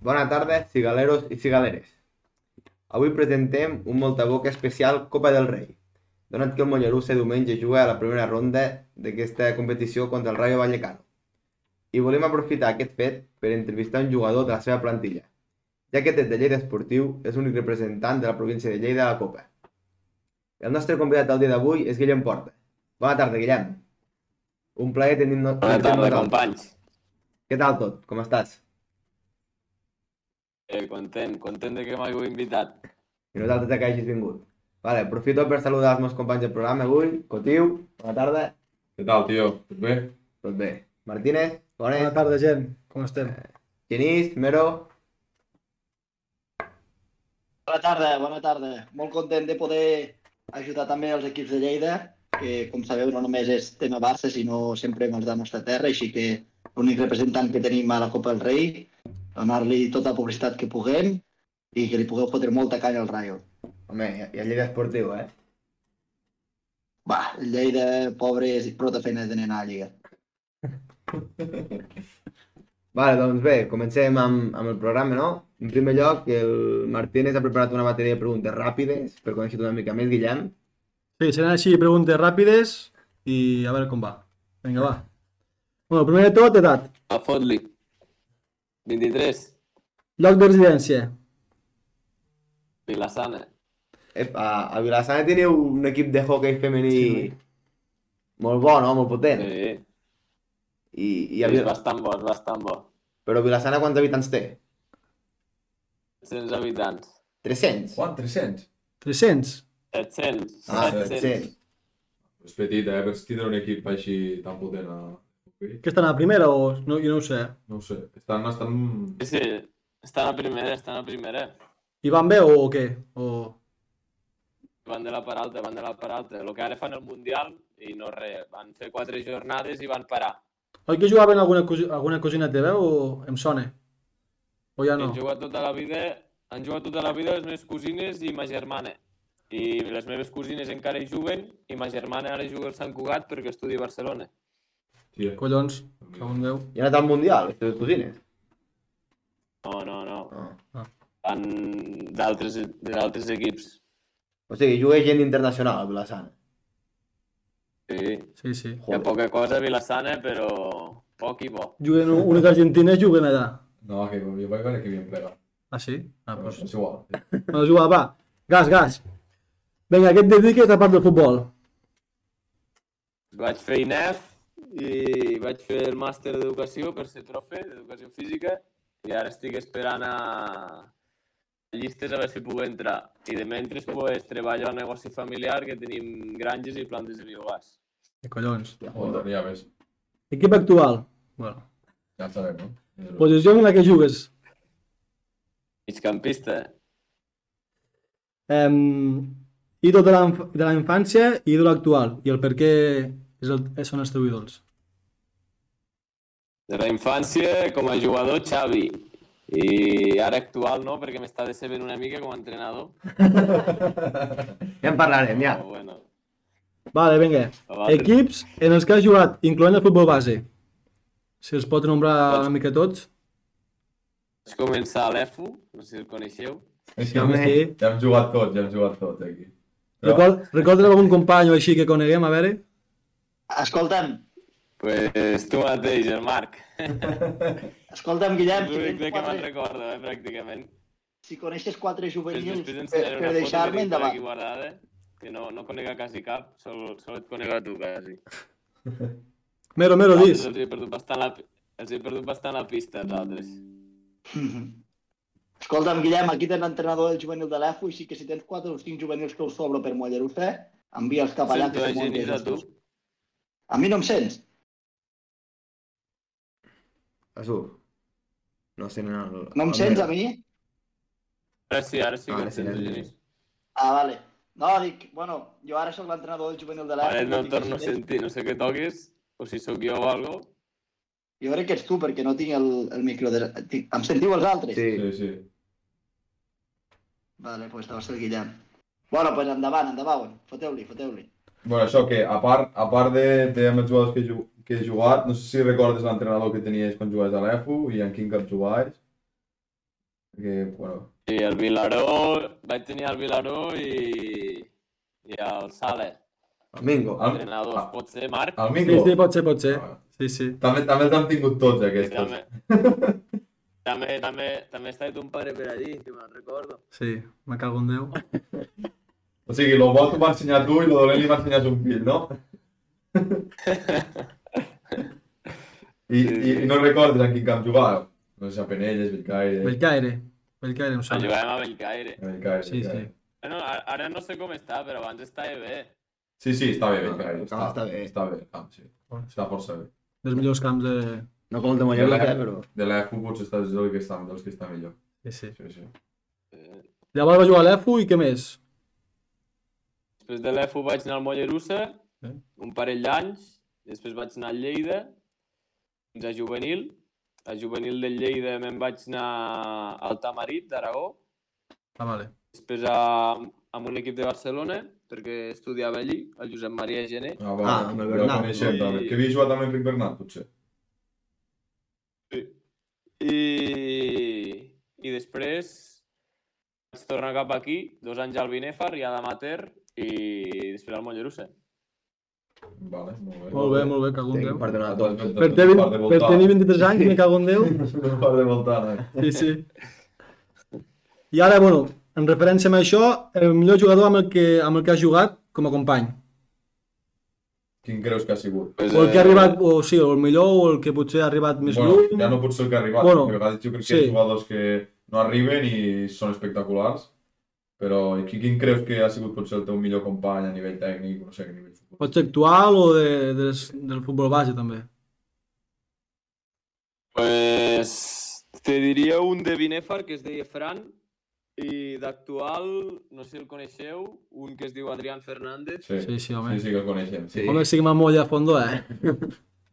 Bona tarda, cigaleros i cigaleres. Avui presentem un Moltaboca especial Copa del Rei. Donat que el Mollerussa diumenge juga a la primera ronda d'aquesta competició contra el Rayo Vallecano. I volem aprofitar aquest fet per entrevistar un jugador de la seva plantilla, ja que des de Lleida Esportiu és l'únic representant de la província de Lleida a la Copa. El nostre convidat al dia d'avui és Guillem Porta. Bona tarda, Guillem. Un plaer tenir-nos... Bona tarda, tenir-nos al- companys. Què tal tot? Com estàs? Eh, content, content de que m'heu invitat. i nosaltres de que hagis vingut. Vale, aprofito per saludar els meus companys del programa avui. Cotiu, bona tarda. Què tal, tio? Tot bé? Tot bé. Martínez, bones. Bona tarda, gent. Com estem? Genís, Mero. Bona tarda, bona tarda. Molt content de poder ajudar també els equips de Lleida, que com sabeu no només és tema Barça, sinó sempre amb els de la nostra terra, així que l'únic representant que tenim a la Copa del Rei, donar-li tota la publicitat que puguem i que li pugueu fotre molta canya al Rayo. Home, i- i el Lleida Esportiu, eh? Va, el Lleida, pobres, i prou de feines de nenar a Lliga. Vale, doncs bé, comencem amb, amb el programa, no? En primer lloc, el Martínez ha preparat una bateria de preguntes ràpides per conèixer-te una mica més, Guillem. Sí, seran així preguntes ràpides i a veure com va. Vinga, va. Bueno, primer de tot, edat. A fot-li. 23, Lloc de residència. Vilassana. Ep, a, a Vilassana teniu un equip de hockey femení Sí. molt bo, no? Molt Sí, potent. sí, I, Eh, i a Eh, és Vil... bastant bo, és bastant bo. Però Vilassana quants habitants té? 100 habitants. 300? Quant? 300? 300. 700. Ah, 700. 300. És petit, eh? Per tindre un equip així tan potent a... hockey. Que estan a la primera o... No, jo no ho sé. No ho sé. Estan, estan... Sí, sí, estan a primera, estan a primera. Hi van bé o, o què? O... Van de la Peralta, van de la Peralta. El que ara fan el Mundial i no res. Van fer quatre jornades i van parar. Oi que jugaven alguna, cosi- alguna cosina teva o em sona? O ja no? Han jugat tota la vida, han jugat tota la vida les meves cosines i ma germana. I les meves cosines encara hi juguen i ma germana ara juga al Sant Cugat perquè estudia a Barcelona. Tia. Collons, cago en Déu. I ha anat al Mundial, les teves cosines. No, no, no. Ah. Van d'altres d'altres equips. O sigui, juga gent internacional a Vilassana. Sí. Sí, sí. Hi ha poca cosa a Vilassana, però poc i bo. Juguen unes argentines, juguen allà. No, que jo vaig veure que havien plegat. Ah, sí? Ah, Però doncs... és igual. No, jugava, va. Gas, gas. Vinga, què et dediques a part del futbol? Vaig fer INEF i vaig fer el màster d'educació per ser profe d'educació física i ara estic esperant a llistes a veure si puc entrar. I de mentre pues, treballo al negoci familiar que tenim granges i plantes de biogàs. Eh, collons. Bueno, n'hi ha més. Equip actual. Bueno. Ja en sabem, no? Posició en la que jugues. Migcampista. Um, ídol de la, inf- de la infància i ídol actual. I el per què és el, són els teus ídols. De la infància, com a jugador, Xavi. I ara actual no, perquè m'està decebent una mica com a entrenador. Ja en parlarem, ja. Però, bueno, Vale, vinga. Vale. Equips en els que has jugat, incloent el futbol base. Si els pots nombrar una mica tots. vaig començar a l'EFU, no sé si el coneixeu. És Sí, home. que Sí. ja hem jugat tots, ja hem jugat tots aquí. Però- Record, recorda algun company o així que coneguem, a veure? Escolta'm, Pues tu mateix, el Marc. escolta'm, Guillem, si, L'únic tens de que me'n quatre, recordo, eh, pràcticament. si coneixes quatre Després, juvenils després per, ensenyaré per una foto que deixar-me tinc per endavant. aquí guardada, que no, no conec a quasi cap, sol, sol et conec a tu, quasi. Mero, mero, Els dis. he perdut bastant la, els he perdut bastant la pista, els altres. Mhm. Escolta'm, Guillem, aquí tens l'entrenador del juvenil de l'EFU, així que si tens quatre o cinc juvenils que us sobra per Mollerussa, envia'ls cap allà. Sento que la se muntin Genís a els tu. dos. a mi no em sents? A su. No sé, no... no No em sents a mi? Ara sí, ara sí que Ah, em sí, sento, sí, sí. Genís. Ah, vale. No, dic, bueno, jo ara sóc l'entrenador del juvenil de l'EFU. Ara no dic, em torno a si tens- sentir, no sé què toques, o si sóc jo o algo. Jo crec que ets tu, perquè no tinc el, el micro... De... tinc- Em sentiu els altres? Sí. Sí, sí. Vale, doncs pues deu ser el Guillem. Bueno, doncs pues endavant, endavant. Foteu-li, foteu-li. Bueno, això que, a part, a part de, de amb els jugadors que, ju que he jugat, no sé si recordes l'entrenador que tenies quan jugaves a l'EFU i en quin cap jugaves. Que, bueno, I el Vilaró, vaig tenir el Vilaró i, i el Sala, Mingo. Al- entrenadors. al- Pot ser Marc? al Sí, Mingo. sí, pot ser, pot ser. Ah, Sí, sí. També, també els han tingut tots, que aquests. també, també, també, també està ton pare per allí, que me'n recordo. Sí, me cago en Déu. O sigui, lo bo t'ho va ensenyar tu i lo dolent li va ensenyar un fill, no? Sí, I, i, sí. i no recordes en quin camp jugava? No sé, a Penelles, Belcaire... Belcaire. Belcaire em sona. Jugàvem a Bellcaire. Belcaire, Sí, sí. Belcaire. Bueno, ara, ara no sé com està, però abans estava bé. Sí, sí, està bé, Ah, Belcaire. el camp està bé. Està bé, el camp, sí. Està força bé. Dels Doncs, millors camps de... No com el de Mollerussa, Clar. eh, però... De l'EFU potser està és el que està, dels que està millor. Sí, sí. Sí, sí. Llavors va jugar a l'EFU i què més? Després de l'EFU vaig anar al Mollerussa, Eh? un parell d'anys, després vaig anar a Lleida, fins a juvenil. A juvenil de Lleida me'n vaig anar al Tamarit d'Aragó, Ah, vale. després a, amb un equip de Barcelona, perquè estudiava allí, el Josep Maria Gené. Ah, va, Ah, amb el ja Bernat, el coneixem, no? també. Que havia jugat amb Enric Bernat, potser. I, i després vaig tornar cap aquí, dos anys al Binefar, ja d'amater, i després al Mollerussa. Vale, molt bé. Molt bé, molt bé, cago en Tinc Déu. per donar a Doncs, tots. doncs, Per, doncs, tenir, part de per voltar. tenir 23 anys, me cago en Déu. Un par de voltant, eh? Sí, sí. I ara, bueno, en referència a això, el millor jugador amb el que, amb el que has jugat com a company. Quin creus que ha sigut? Pues, O el que ha arribat, o sí, o el millor, o el que potser ha arribat més eh, bueno, lluny. ja no pot ser el que ha arribat, Bueno, bueno, perquè a vegades jo crec que sí. hi ha jugadors que no arriben i són espectaculars, però qui, quin creus que ha sigut potser el teu millor company a nivell tècnic, no sé, a nivell futbol? Pot ser actual o de, des, del futbol base, també. Pues te diria un de Binefar que es deia Fran i d'actual, no sé si el coneixeu, un que es diu Adrián Fernández. Sí, sí, Sí, sí, home. sí, sí que el coneixem. Sí. Sí. Home, sí que m'ha molt a fondo, eh?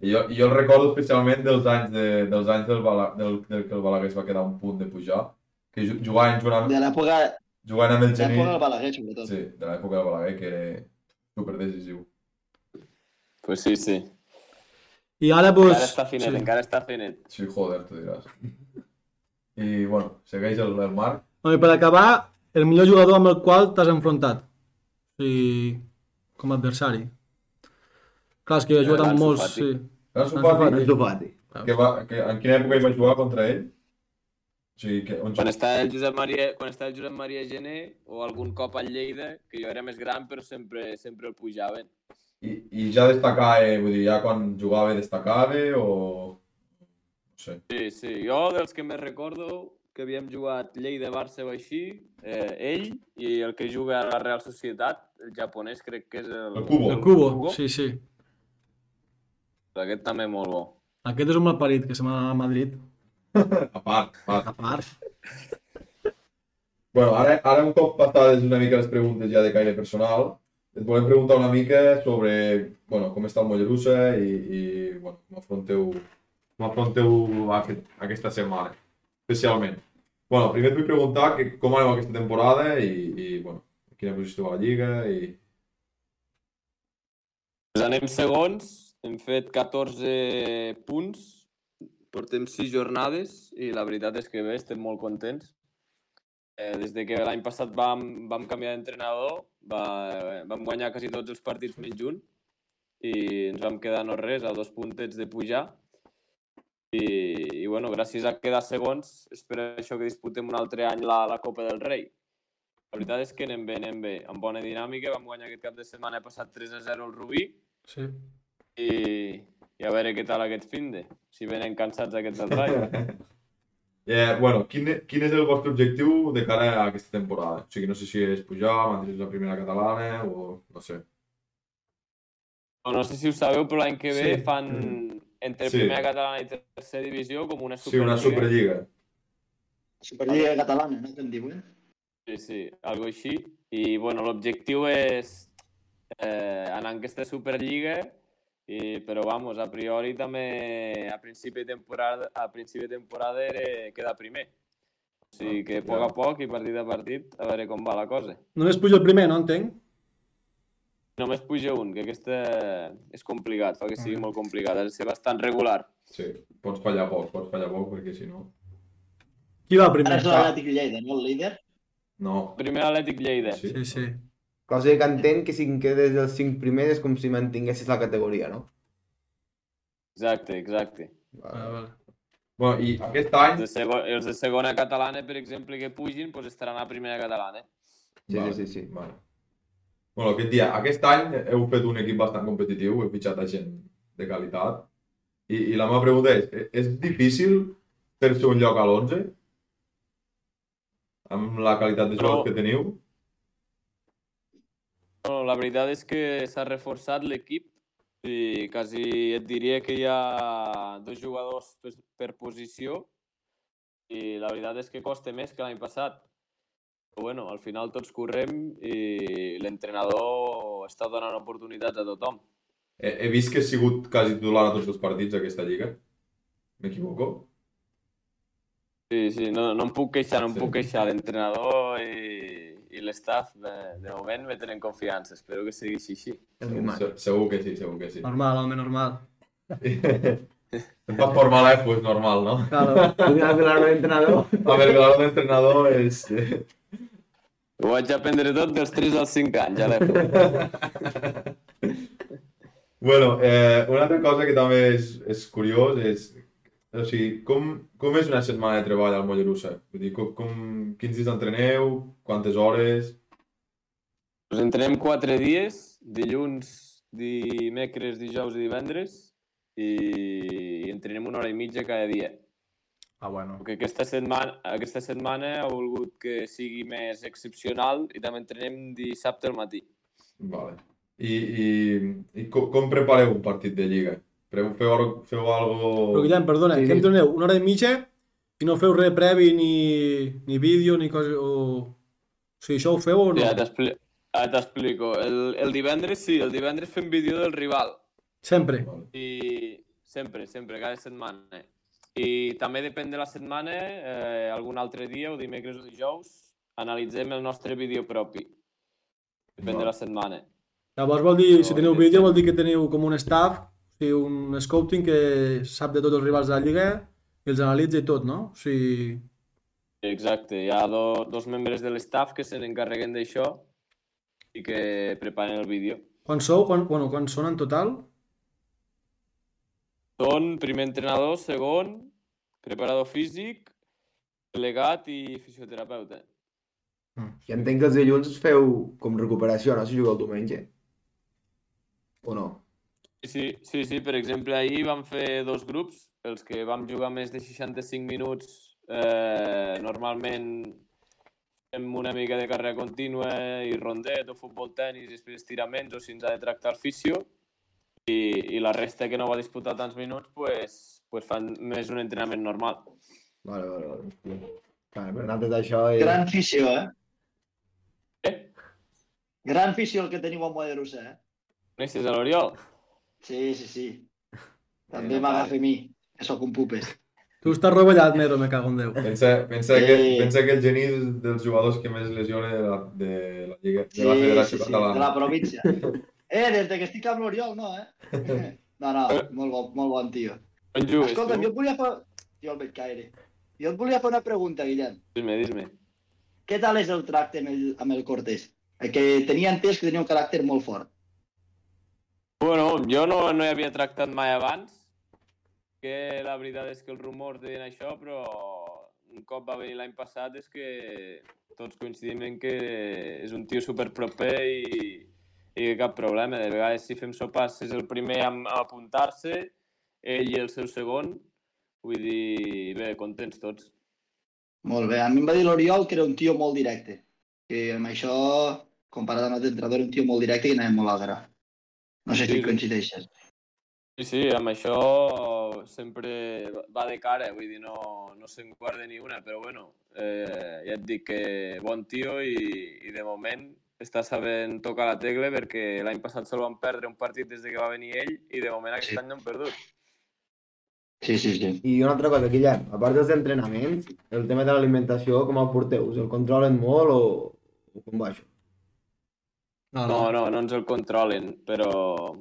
I jo, i jo el recordo especialment dels anys, de, dels anys del, Bala, del, del que el Balaguer es va quedar a un punt de pujar, que ju- jugant, jugant, De amb, l'època jugant amb el de Geni, l'època del Balaguer, sobretot. sí, de l'època del Balaguer, que era superdecisiu. Pues sí, sí. I ara, Encara doncs... està finet, sí. encara està finet. Sí, joder, tu diràs. I, bueno, segueix el, el Marc. Home, per acabar, el millor jugador amb el qual t'has enfrontat. I com a adversari. Clar, és que jo he jugat amb Ansu molts, Fati. sí. Ara Doncs suposo que- Ansu Fati. Que va, que, en quina època hi va jugar contra ell? O sigui, que, on Quan jugava? estava el Josep Maria, quan estava el Josep Maria Gené o algun cop al Lleida, que jo era més gran però sempre sempre el pujaven. I, I ja destacava, eh, vull dir, ja quan jugava destacava o... No sé. Sí, sí, jo dels que més recordo que havíem jugat Lleida, Barça o així, eh, ell i el que juga a la Real Societat, el japonès crec que és el... El Kubo. El Cubo, sí, sí. Aquest també molt bo. Aquest és un mal parit, que se m'ha anat a Madrid. A part, a part. A part. Bueno, ara, ara un cop passades una mica les preguntes ja de caire personal, et volem preguntar una mica sobre bueno, com està el Mollerussa i, i bueno, com afronteu, com afronteu aquest, aquesta setmana, especialment. Bueno, primer et vull preguntar que, com aneu aquesta temporada i, i bueno, en quina posició esteu a la Lliga i... Doncs anem segons, hem fet 14 punts, portem 6 jornades i la veritat és que bé, estem molt contents. Eh, des de que l'any passat vam, vam canviar d'entrenador, va, vam guanyar quasi tots els partits menys un i ens vam quedar no res, a dos puntets de pujar. I, i bueno, gràcies a quedar segons, és per això que disputem un altre any la, la Copa del Rei. La veritat és que anem bé, anem bé, amb bona dinàmica. Vam guanyar aquest cap de setmana passat 3 a 0 al Rubí Sí. i, i a veure què tal aquest finde, si venen cansats aquests del Rayo. Eh, bueno, quin, quin és el vostre objectiu de cara a aquesta temporada? O sigui, no sé si és pujar, mantenir la primera catalana o no sé. O No sé si ho sabeu, però l'any que ve Sí. fan entre Sí. primera catalana i tercera divisió com una Sí, una superliga. Superliga. Superliga catalana, no? Que eh? en diuen. Sí, sí, algo així. I bueno, l'objectiu és eh, anar en aquesta Superliga i, però vamos, a priori també a principi de temporada, a principi de temporada era quedar primer. O sigui que a poc a poc i partit a partit a veure com va la cosa. Només puja el primer, no entenc? Només puja un, que aquesta és complicat, fa que sigui molt complicat, ha de ser bastant regular. Sí, pots fallar poc, pots fallar poc perquè si no... Qui va Ara primer? Ah, és l'Atlètic Lleida, no el líder? No. Primer Atlètic Lleida. Sí. Sí, sí. Cosa que entenc que si en quedes dels 5 primers és com si mantinguessis la categoria, no? Exacte, exacte. Ah, Vale, Ah, vale. Bueno, I aquest any... Els de, segon, els de segona catalana, per exemple, que pugin, doncs estaran a primera catalana. Sí, Vale, sí, sí, sí. Vale. Bueno, aquest dia, aquest any heu fet un equip bastant competitiu, heu fitxat a gent de qualitat. I, i la meva pregunta és, e- és difícil fer-se un lloc a l'11? Amb la qualitat de Però- jocs que teniu? Bueno, la veritat és que s'ha reforçat l'equip i quasi et diria que hi ha dos jugadors per, per posició i la veritat és que costa més que l'any passat. Però bueno, al final tots correm i l'entrenador està donant oportunitats a tothom. He, he vist que he sigut quasi titular a tots els partits d'aquesta lliga. M'equivoco? Sí, sí, no, no em puc queixar, no em Sí. puc queixar. L'entrenador i, i l'estaf de, de moment me tenen confiança. Espero que sigui així. així. És normal. Se- Segur que sí, segur que sí. Normal, home, normal. Em vas por mala, eh? pues normal, ¿no? Claro, podríem hablar de entrenador. A ver, claro, de entrenador es... eh, Ho vaig aprendre tot dels 3 als 5 anys, a l'època. Bueno, eh, una altra cosa que també és, és curiós és... O sigui, com, com és una setmana de treball al Mollerussa? Vull dir, com, com, quins dies entreneu? Quantes hores? Us entrenem quatre dies, dilluns, dimecres, dijous i divendres, i entrenem una hora i mitja cada dia. Ah, bueno. Perquè aquesta setmana, aquesta setmana ha volgut que sigui més excepcional i també entrenem dissabte al matí. Vale. I, i, i com, com prepareu un partit de Lliga? Feu, feu, al- feu algo... Però Guillem, perdona, Sí, que sí. em doneu una hora i mitja i no feu res previ, ni, ni vídeo, ni cosa... O... o sigui, això ho feu o no? Ja t'expli- ara t'explico. El, el divendres sí, el divendres fem vídeo del rival. Sempre. Vale. I sempre, sempre, cada setmana. I també depèn de la setmana, eh, algun altre dia, o dimecres o dijous, analitzem el nostre vídeo propi. Depèn Val. de la setmana. Llavors vol dir, si No, teniu sí, vídeo, sí. vol dir que teniu com un staff, o sigui, un scouting que sap de tots els rivals de la Lliga i els analitza i tot, no? O sigui, Exacte, hi ha do, dos membres de l'estaf que se n'encarreguen d'això i que preparen el vídeo. quan sou, quan, bueno, quan són en total? Són primer entrenador, segon, preparador físic, delegat i fisioterapeuta. I entenc que els dilluns feu com recuperació, no? Si jugueu el diumenge. O no? Sí, sí, sí, per exemple, ahir vam fer dos grups, els que vam jugar més de 65 minuts, eh, normalment fem una mica de carrera contínua i rondet o futbol tenis, i després estiraments o si ens ha de tractar el fisio, i, i la resta que no va disputar tants minuts, pues, pues fan més un entrenament normal. Vale, vale, vale. Clar, per nosaltres això és... Gran afició, eh? Eh? Gran afició el que teniu a Mollerussa, eh? Coneixes a l'Oriol? Sí, sí, sí. També Eh, m'agafa a mi, que sóc un pupes. Tu estàs rovellat, Nero, me cago en Déu. Pensa, pensa, que, Sí. pensa que el geni és dels jugadors que més lesiona de la, de la Lliga, de Sí, la sí, Federació sí, de Catalana. la província. Eh, des de que estic amb l'Oriol, no, eh? No, no, molt bon, molt bon tio. On jugues, Escolta, jo tu? et volia fer... Jo el veig caire. Jo et volia fer una pregunta, Guillem. Dis-me, dis-me. Què tal és el tracte amb el, amb el Cortés? Eh, Que tenia entès que tenia un caràcter molt fort. Bueno, jo no, no hi havia tractat mai abans, que la veritat és que els rumors deien això, però un cop va venir l'any passat és que tots coincidim en que és un tio superproper i, i cap problema. De vegades si fem sopars és el primer a, a apuntar-se, ell i el seu segon, vull dir, bé, contents tots. Molt bé. A mi em va dir l'Oriol que era un tio molt directe. Que amb això, comparat amb l'altre entrenador, era un tio molt directe i anava molt al gra. No sé Sí, si sí. coincideixes. Sí, sí, amb això sempre va de cara, vull dir, no, no se'n guarda ni una, però bueno, eh, ja et dic que bon tio i, i de moment està sabent tocar la tecla perquè l'any passat se'l van perdre un partit des de que va venir ell i de moment aquest Sí. any no hem perdut. Sí, sí, sí. I una altra cosa, Guillem, a part dels entrenaments, el tema de l'alimentació, com el porteu? Us el controlen molt o, o com va això? No, no. No, no, no ens el controlen, però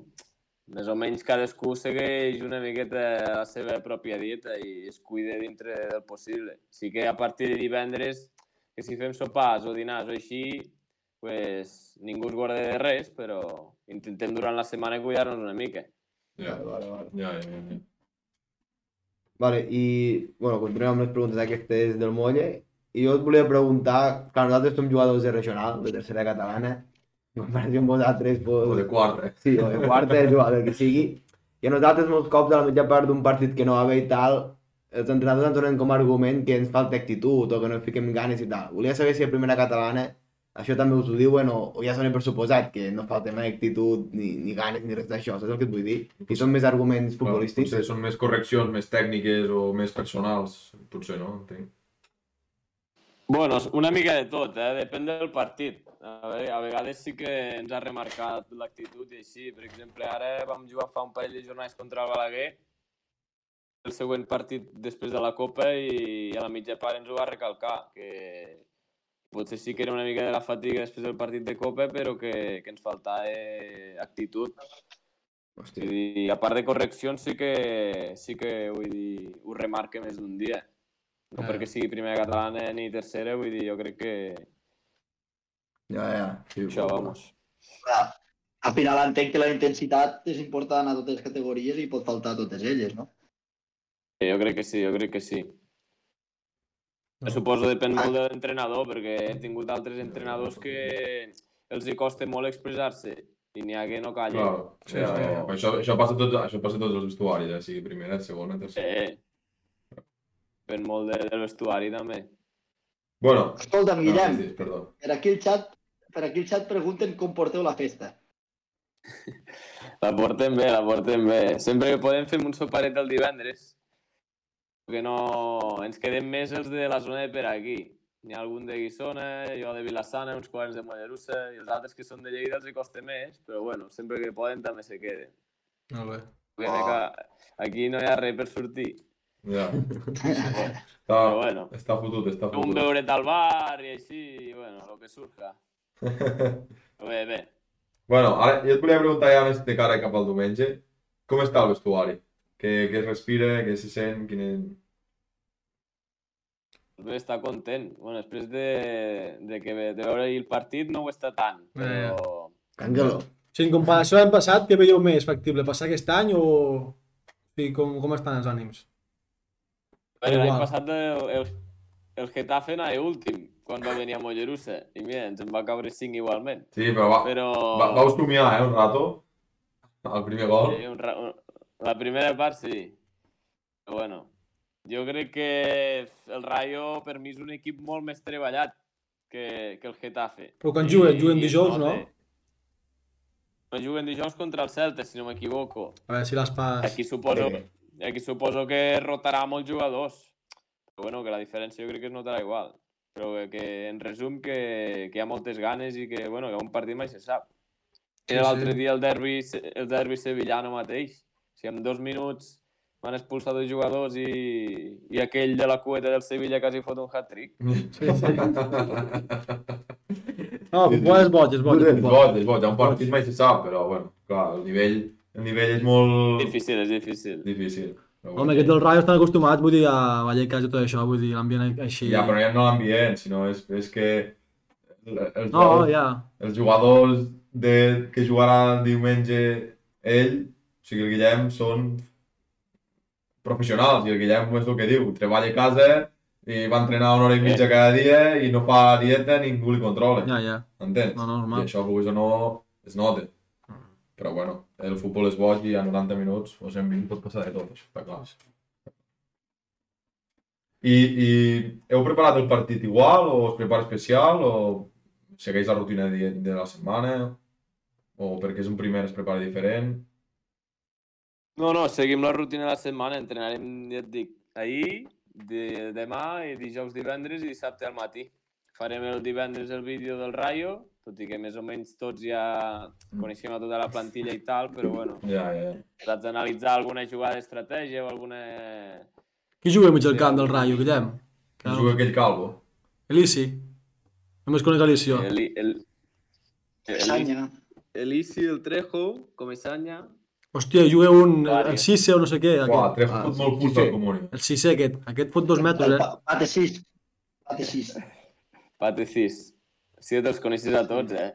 més o menys cadascú segueix una miqueta la seva pròpia dieta i es cuida dintre del possible. Sí que a partir de divendres, que si fem sopars o dinars o així, pues, ningú es guarda de res, però intentem durant la setmana cuidar-nos una mica. Ja, vale, vale. ja, ja, ja. Vale, i bueno, continuem amb les preguntes aquestes del Molle. I jo et volia preguntar, clar, nosaltres som jugadors de regional, de tercera catalana, i en comparació amb vosaltres, pues, O de quart, eh? sí, o de quarta, és igual, el que sigui. I a nosaltres molts cops a la mitja part d'un partit que no va bé i tal, els entrenadors ens donen com a argument que ens falta actitud o que no fiquem ganes i tal. Volia saber si a primera catalana això també us ho diuen o, o ja sonen per suposat que no falta mai actitud ni, ni ganes ni res d'això, saps el que et vull dir? I són més arguments futbolístics. Potser són més correccions, més tècniques o més personals. Potser no, entenc. Bueno, una mica de tot, eh? depèn del partit. A, veure, a vegades sí que ens ha remarcat l'actitud i així. Per exemple, ara vam jugar fa un parell de jornades contra el Balaguer, el següent partit després de la Copa i a la mitja part ens ho va recalcar, que potser sí que era una mica de la fatiga després del partit de Copa, però que, que ens faltava eh, actitud. Hòstia. Vull dir, a part de correccions sí que, sí que vull dir, ho remarca més d'un dia. No Ah. perquè sigui primera catalana ni tercera, vull dir, jo crec que Ja, ja. Sí, això, vamos. Clar, al final entenc que la intensitat és important a totes les categories i pot faltar a totes elles, no? Sí, Eh, Jo crec que sí, jo crec que sí. No. Suposo depèn molt de l'entrenador, perquè he tingut altres entrenadors que els hi costa molt expressar-se i n'hi ha que no callen. Clar, sí, ja, ja, ja. Però Això, això, passa a tots, això passa a tots els vestuaris, eh? sigui primera, segona, Sí. tercera. Eh, Depèn molt de, del vestuari, també. Bueno, Escolta'm, no, Guillem, sí, sí, perdó. per aquí el xat, per aquí el xat pregunten com porteu la festa. La portem bé, la portem bé. Sempre que podem fem un soparet el divendres. Que no... Ens quedem més els de la zona de per aquí. N'hi ha algun de Guissona, jo de Vilassana, uns quants de Mollerussa, i els altres que són de Lleida els hi costa més, però bueno, sempre que poden també se queden. Molt bé. Perquè que aquí no hi ha res per sortir. Ja. Però Està, bueno, està fotut, està un fotut. beuret al bar i així, i bueno, el que surja. Bé, bé. Bueno, ara jo et volia preguntar ja més de cara cap al diumenge, com està el vestuari? Què, què es respira, què se sent, quin... Bé, està content. Bueno, després de, de, que, ve- de veure ahir el partit no ho està tant, Eh. però... Cangelo. Si en comparació a l'any passat, què veieu més factible? Passar aquest any o... Sí, com, com estan els ànims? Bueno, l'any Igual. passat eh, el, el, el Getafe anava últim, quan va venir a Mollerussa, i mira, ens en va caure 5 igualment. Sí, però va, Però va, vau somiar, eh, un rato, al primer gol. sí, un, ra- un, la primera part sí. Però bueno, jo crec que el Rayo per mi és un equip molt més treballat que, que el Getafe. Però quan I- juguen, juguen i es dijous, no? nota. No juguen dijous contra el Celta, si no m'equivoco. A veure si les pas... Aquí suposo, Sí. aquí suposo que rotarà molts jugadors. Però bueno, que la diferència jo crec que es notarà igual. Però que, que en resum que, que hi ha moltes ganes i que, bueno, que un partit mai se sap. Sí, Era l'altre sí. dia el derbi, se- el derbi sevillano mateix. O sigui, en dos minuts van expulsar dos jugadors i, i aquell de la cueta del Sevilla quasi fot un hat-trick. Sí, sí. No, el futbol és boig, és boig. el És futbol. boig, és boig. Un partit mai se sap, però, bueno, clar, el nivell, el nivell és molt Difícil, és difícil. difícil. Però, Home, aquests del Rayo estan acostumats, vull dir, a Vallecas i tot això, vull dir, l'ambient així... Ja, però ja no l'ambient, sinó és, és que els, No, ja. els jugadors de, que jugaran diumenge ell, o sigui, el Guillem, són professionals, i el Guillem és el que diu, treballa a casa i va entrenar una hora i mitja cada dia i no fa dieta, ningú li controla, Ja, ja. entens? No, no, I normal. Mm. això, vulguis o no, es nota. Però bueno, el futbol és boig i a 90 minuts o 120 pot passar de tot, això està clar. I, I heu preparat el partit igual o es prepara especial o segueix la rutina de, de la setmana o perquè és un primer es prepara diferent? No, no, seguim la rutina de la setmana, entrenarem, ja et dic, ahir, de, demà, i dijous, divendres i dissabte al matí. Farem el divendres el vídeo del Rayo, tot i que més o menys tots ja coneixem a tota la plantilla i tal, però bueno, Ja, ja, ja. has d'analitzar alguna jugada d'estratègia o alguna... Qui juga mig al camp del Rayo, Guillem? Claro. Juga aquell calvo. Elisi. Només conec Elisio. El, el, el, Sanya. Elisi, el Trejo, Comesaña, Hòstia, juga un, Vale. el sisè o no sé què, Uah, aquest. tres Ah, fot sí, molt sí, curts al sí. Comuni. El sisè aquest. Aquest fot dos metres, El eh? pa- Pate 6. Pate 6. Pati 6. Si te'ls coneixes a tots, eh?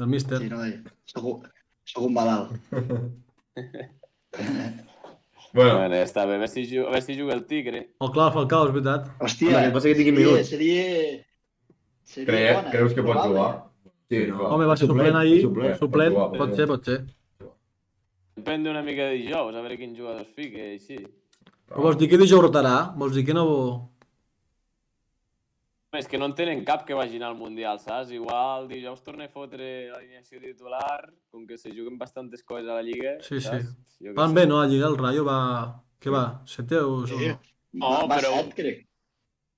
Del míster. Sí, noi. Soc, un- soc un malalt. Bueno, Bueno, ja està bé. A veure si juga, a veure si juga el Tigre. O clar, Falcao, és veritat. Hòstia, Home, que passa que tingui seria, minuts. seria, seria cre bona, eh? creus que pot probable. jugar? Sí, no. Home, va ser suplent ahir. Suplent. Suplent, Pot jugar, pot pot ser, pot ser. Depèn d'una mica de dijous, a veure quin jugador es fica i així. Però vols dir que dijous rotarà? Vols dir que no... Home, És que no en tenen cap que vagin al Mundial, saps? Igual dijous torna a fotre l'alineació titular, com que se juguen bastantes coses a la Lliga. Sí, sí. saps? Jo què Van sé. bé, no? A Lliga el Rayo va... Què va? Sete o... Sí. o- No, No, va però- set, crec.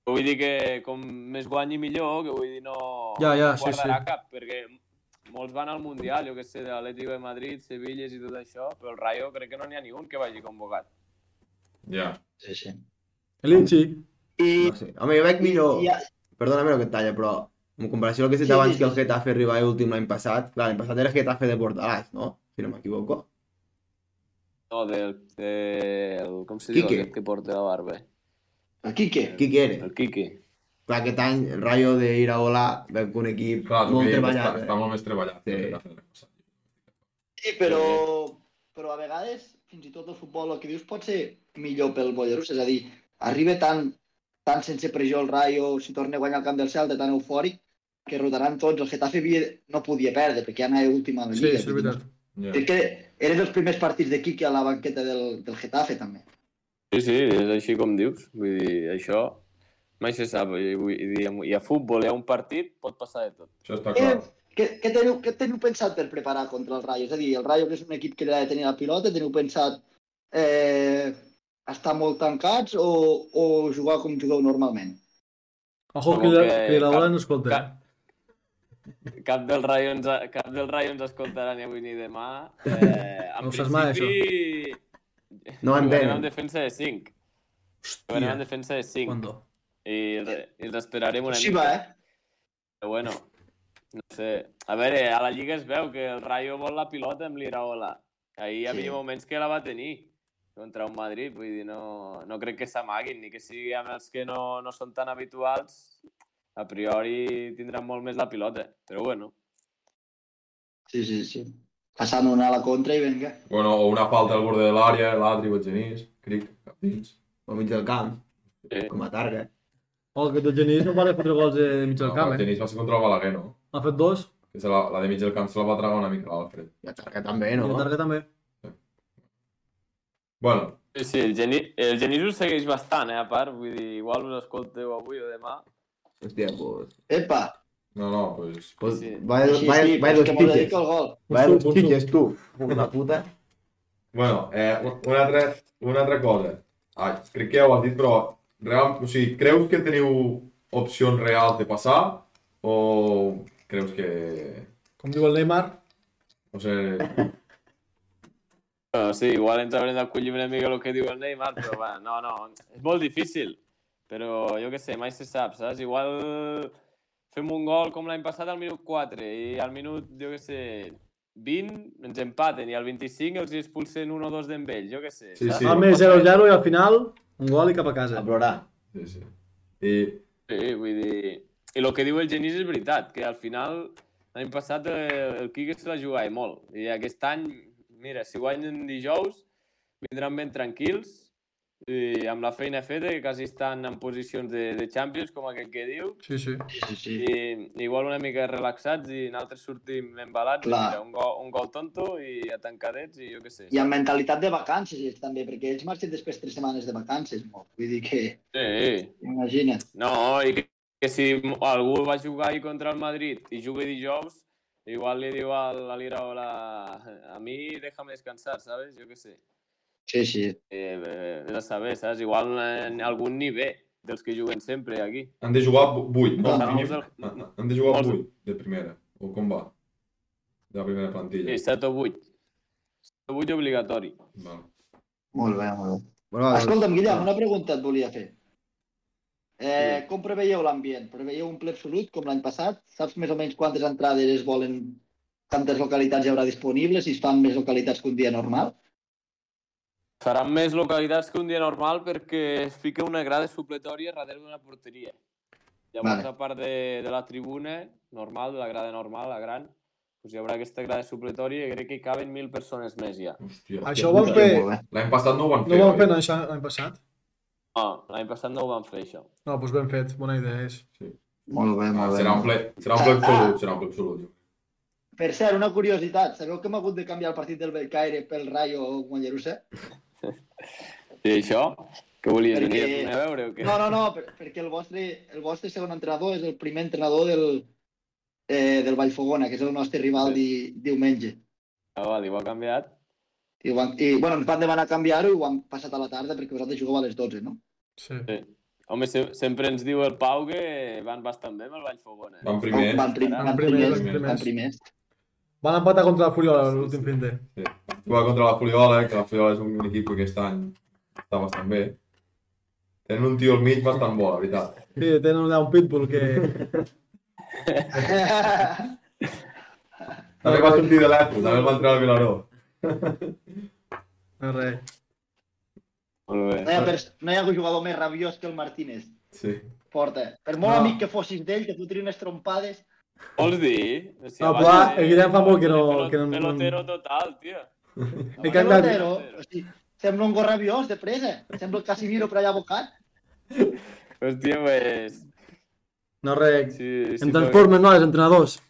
Vull dir que com més guanyi millor, que vull dir no, Ja, ja, no sí, guardarà sí. cap, perquè molts van al Mundial, jo què sé, de l'Atlético de Madrid, Sevilles i tot això, però el Rayo crec que no n'hi ha ni un que vagi convocat. Ja. Sí, sí. Elinchi. I, No sé. Home, jo veig millor... i, a- Perdona-me lo que et talla, però en comparació al que he dit Sí, abans sí, que el sí. Getafe arribava últim l'any passat, clar, l'any passat era Getafe de Portalàs, no? Si no m'equivoco. No, del... del com se diu Quique. aquest que porta la barba? el Quique. Qui que era? El Quique. Clar, aquest any el Rayo de ir a volar veig un equip Clar, tu molt que dius, treballat. està, eh? està molt més treballat. Sí. que el Getafe. Sí, però, però a vegades, fins i tot el futbol, el que dius pot ser millor pel Mollerús, és a dir, arriba tan, tan sense pressió el Rayo, si torna a guanyar el camp del Celta, tan eufòric, que rotaran tots. El Getafe havia, no podia perdre, perquè anava última a la Sí, Lliga. sí, és veritat. Ja. Crec que eren els primers partits de Quique a la banqueta del, del Getafe, també. Sí, sí, és així com dius. Vull dir, això mai se sap. I, vull dir, hi ha futbol, hi ha un partit, pot passar de tot. Això està clar. Què, què, què, teniu, què teniu pensat per preparar contra el Rayo? És a dir, el Rayo que és un equip que li ha de tenir la pilota, teniu pensat eh, estar molt tancats o, o jugar com jugueu normalment? Ojo, Com que, que que la bola cap- no escolta. cap- Cap del Rayo ens, cap del Rayo ens escoltarà ni avui ni demà. Eh, en No saps mai, principi... eh? No Jugarem entenen. en defensa de 5. Jugarem en Hòstia, defensa de 5. quando. I, re- i els esperarem una Sí, mica. va, eh? Però bueno, no sé. A veure, a la Lliga es veu que el Rayo vol la pilota amb l'Iraola. Ahir hi havia Sí. moments que la va tenir contra un Madrid, vull dir, no, no crec que s'amaguin, ni que sigui amb els que no, no són tan habituals, a priori tindran molt més la pilota, però bueno. Sí, sí, sí. Passant una a la contra i vinga. Bueno, o una falta al borde de l'àrea, l'Adri o el Genís, cric, cap dins. Al mig del camp, Sí. com a targa. Oh, que el Genís no va fotre gols de mig del No, camp, el eh? Genís va ser contra el Balaguer, no? Ha fet dos, Que se la, la de mig del camp se la va tragar una mica l'Alfred. I a targa també, i no? la Targa també. Bueno, Sí, sí, el Genís, el Genís us segueix bastant, eh, a part, vull dir, igual us escolteu avui o demà. Hòstia, pues... Epa! no, no, doncs... pues Sí. Vaya, sí, vaya, sí, vaya però és dos que m'ho dedico chiches. al gol. Vaya Un dos sub, un chiches, tu. Una puta. Bueno, eh, un- una altra, una altra cosa. Ai, crec que ja ho has dit, però real, o sigui, creus que teniu opcions reals de passar o creus que... Com diu el Neymar, No sé, Bueno, sí, igual ens haurem d'acollir una mica el que diu el Neymar, però va, no, no, és molt difícil. Però jo què sé, mai se sap, saps? Igual fem un gol com l'any passat al minut 4 i al minut, jo què sé, 20 ens empaten i al 25 els hi expulsen un o dos d'en ells, jo què sé. Sí, saps? sí. al més 0-0 i al final, un gol i cap a A casa. plorar. sí, sí. I, Sí, vull dir... I el que diu el Genís és veritat, que al final l'any passat eh, el Quique se la jugava molt. I aquest any, mira, si guanyen dijous, vindran ben tranquils i amb la feina feta, que quasi estan en posicions de, de Champions, com aquest que diu, Sí, sí. Sí, sí, sí. i igual una mica relaxats i nosaltres sortim embalats, i Clar. mira, un, gol, un gol tonto i atancadets i jo què sé. I amb mentalitat de vacances, ells també, perquè ells marxen després tres setmanes de vacances, molt. Vull dir que, Sí, imagina't. No, i que, que si algú va jugar ahir contra el Madrid i juga dijous, igual li diu a la Lira o la... a mi déjame descansar, ¿sabes? Jo què sé. Sí, sí. Eh, eh, vés a saber, saps? Igual en algun nivell dels que juguen sempre aquí. han de jugar 8, no? Clar, Mínim. molts del- Han- Han de jugar molts- 8 de primera, o com va? De la primera plantilla. Sí, 7 o 8. 7 o 8 obligatori. Vale. Molt bé, molt bé. Bueno, va, doncs. Escolta'm, Guillem, una pregunta et volia fer. Eh, com preveieu l'ambient? Preveieu un ple absolut, com l'any passat? Saps més o menys quantes entrades es volen, quantes localitats hi haurà disponibles, si es fan més localitats que un dia normal? Seran més localitats que un dia normal perquè es fica una grada supletòria darrere d'una porteria. Llavors, Vale. a part de, de la tribuna normal, de la grada normal, la gran, doncs hi haurà aquesta grada supletòria i crec que hi caben mil persones més ja. Hòstia. Això ho van fer, L'any passat no ho van no fer. ho van fer oi? l'any l'any passat? No, l'any passat no ho van fer, això. No, doncs ben fet, bona idea és. Molt bé, Ah, molt bé. serà un ple, serà un ple absolut, serà un ple absolut. jo. Per cert, una curiositat. Sabeu que hem hagut de canviar el partit del Belcaire pel Rayo Mollerussa? I això? Què volies Perquè- venir a Puny a veure o què? No, no, no, per, perquè el vostre, el vostre segon entrenador és el primer entrenador del, eh, del Vallfogona, que és el nostre rival di, diumenge. Ah, vale, ho ha canviat. I, ho han, i bueno, ens van demanar canviar-ho i ho han passat a la tarda perquè vosaltres jugueu a les 12, no? Sí. Home, se sempre ens diu el Pau que van bastant bé amb el Vallfogona. Eh? Van primer. Van, prim, Van van, primers, primers, van primers. van primers. Van empatar contra la Furiola l'últim fin de. Va contra la Fuliola, eh, que la Fuliola és un equip que aquest any està bastant bé. Tenen un tio al mig bastant bo, la veritat. Sí, tenen allà un pitbull que... També va sortir de l'Epo, també el va entrar al Vilaró. No, res. Molt No bé. hi, ha pers- no hi ha jugador més rabiós que el Martínez. Sí. Porta. Per molt No. amic que fossis d'ell, que tu tiri unes trompades... Vols dir? O sigui, No, abans clar, de- el Guillem fa molt que no- Pelot- que no- Pelotero total, tio. He Que canviat- Pelotero, o sigui, sembla un gos rabiós, de presa. Sembla el Casimiro per allà bocat. Hòstia, pues... No, res. Sí, sí, Em transformen, no, els entrenadors.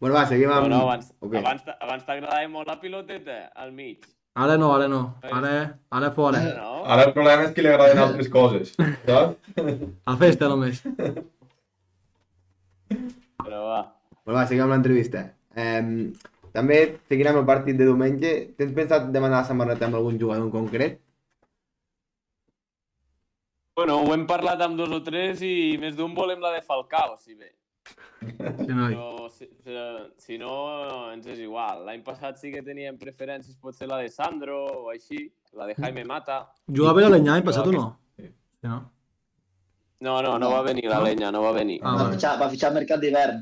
Bueno, va, seguim No, amb... no, abans, Ok. okay. abans, t'a- abans t'agradava molt la piloteta, al mig. Ara no, ara no. Ara, ara fora. No? Ah. Ara el problema és que li agraden altres coses, saps? Ah. A festa, només. Però va. Bueno, va, seguim amb l'entrevista. Eh, també seguirà amb el partit de diumenge. Tens pensat demanar la samarreta amb algun jugador en concret? Bueno, ho hem parlat amb dos o tres i més d'un volem la de Falcao, si bé. Sí, noi. Però si, però, si no, ens és igual. L'any passat sí que teníem preferències, potser la de Sandro o així, la de Jaime Mata. Jugava a l'Alenyà l'any passat o no? Sí. Sí, no? No, no, no va venir la lenya, no va venir. Ah, va, vale. fitxar, va fitxar el mercat d'hivern.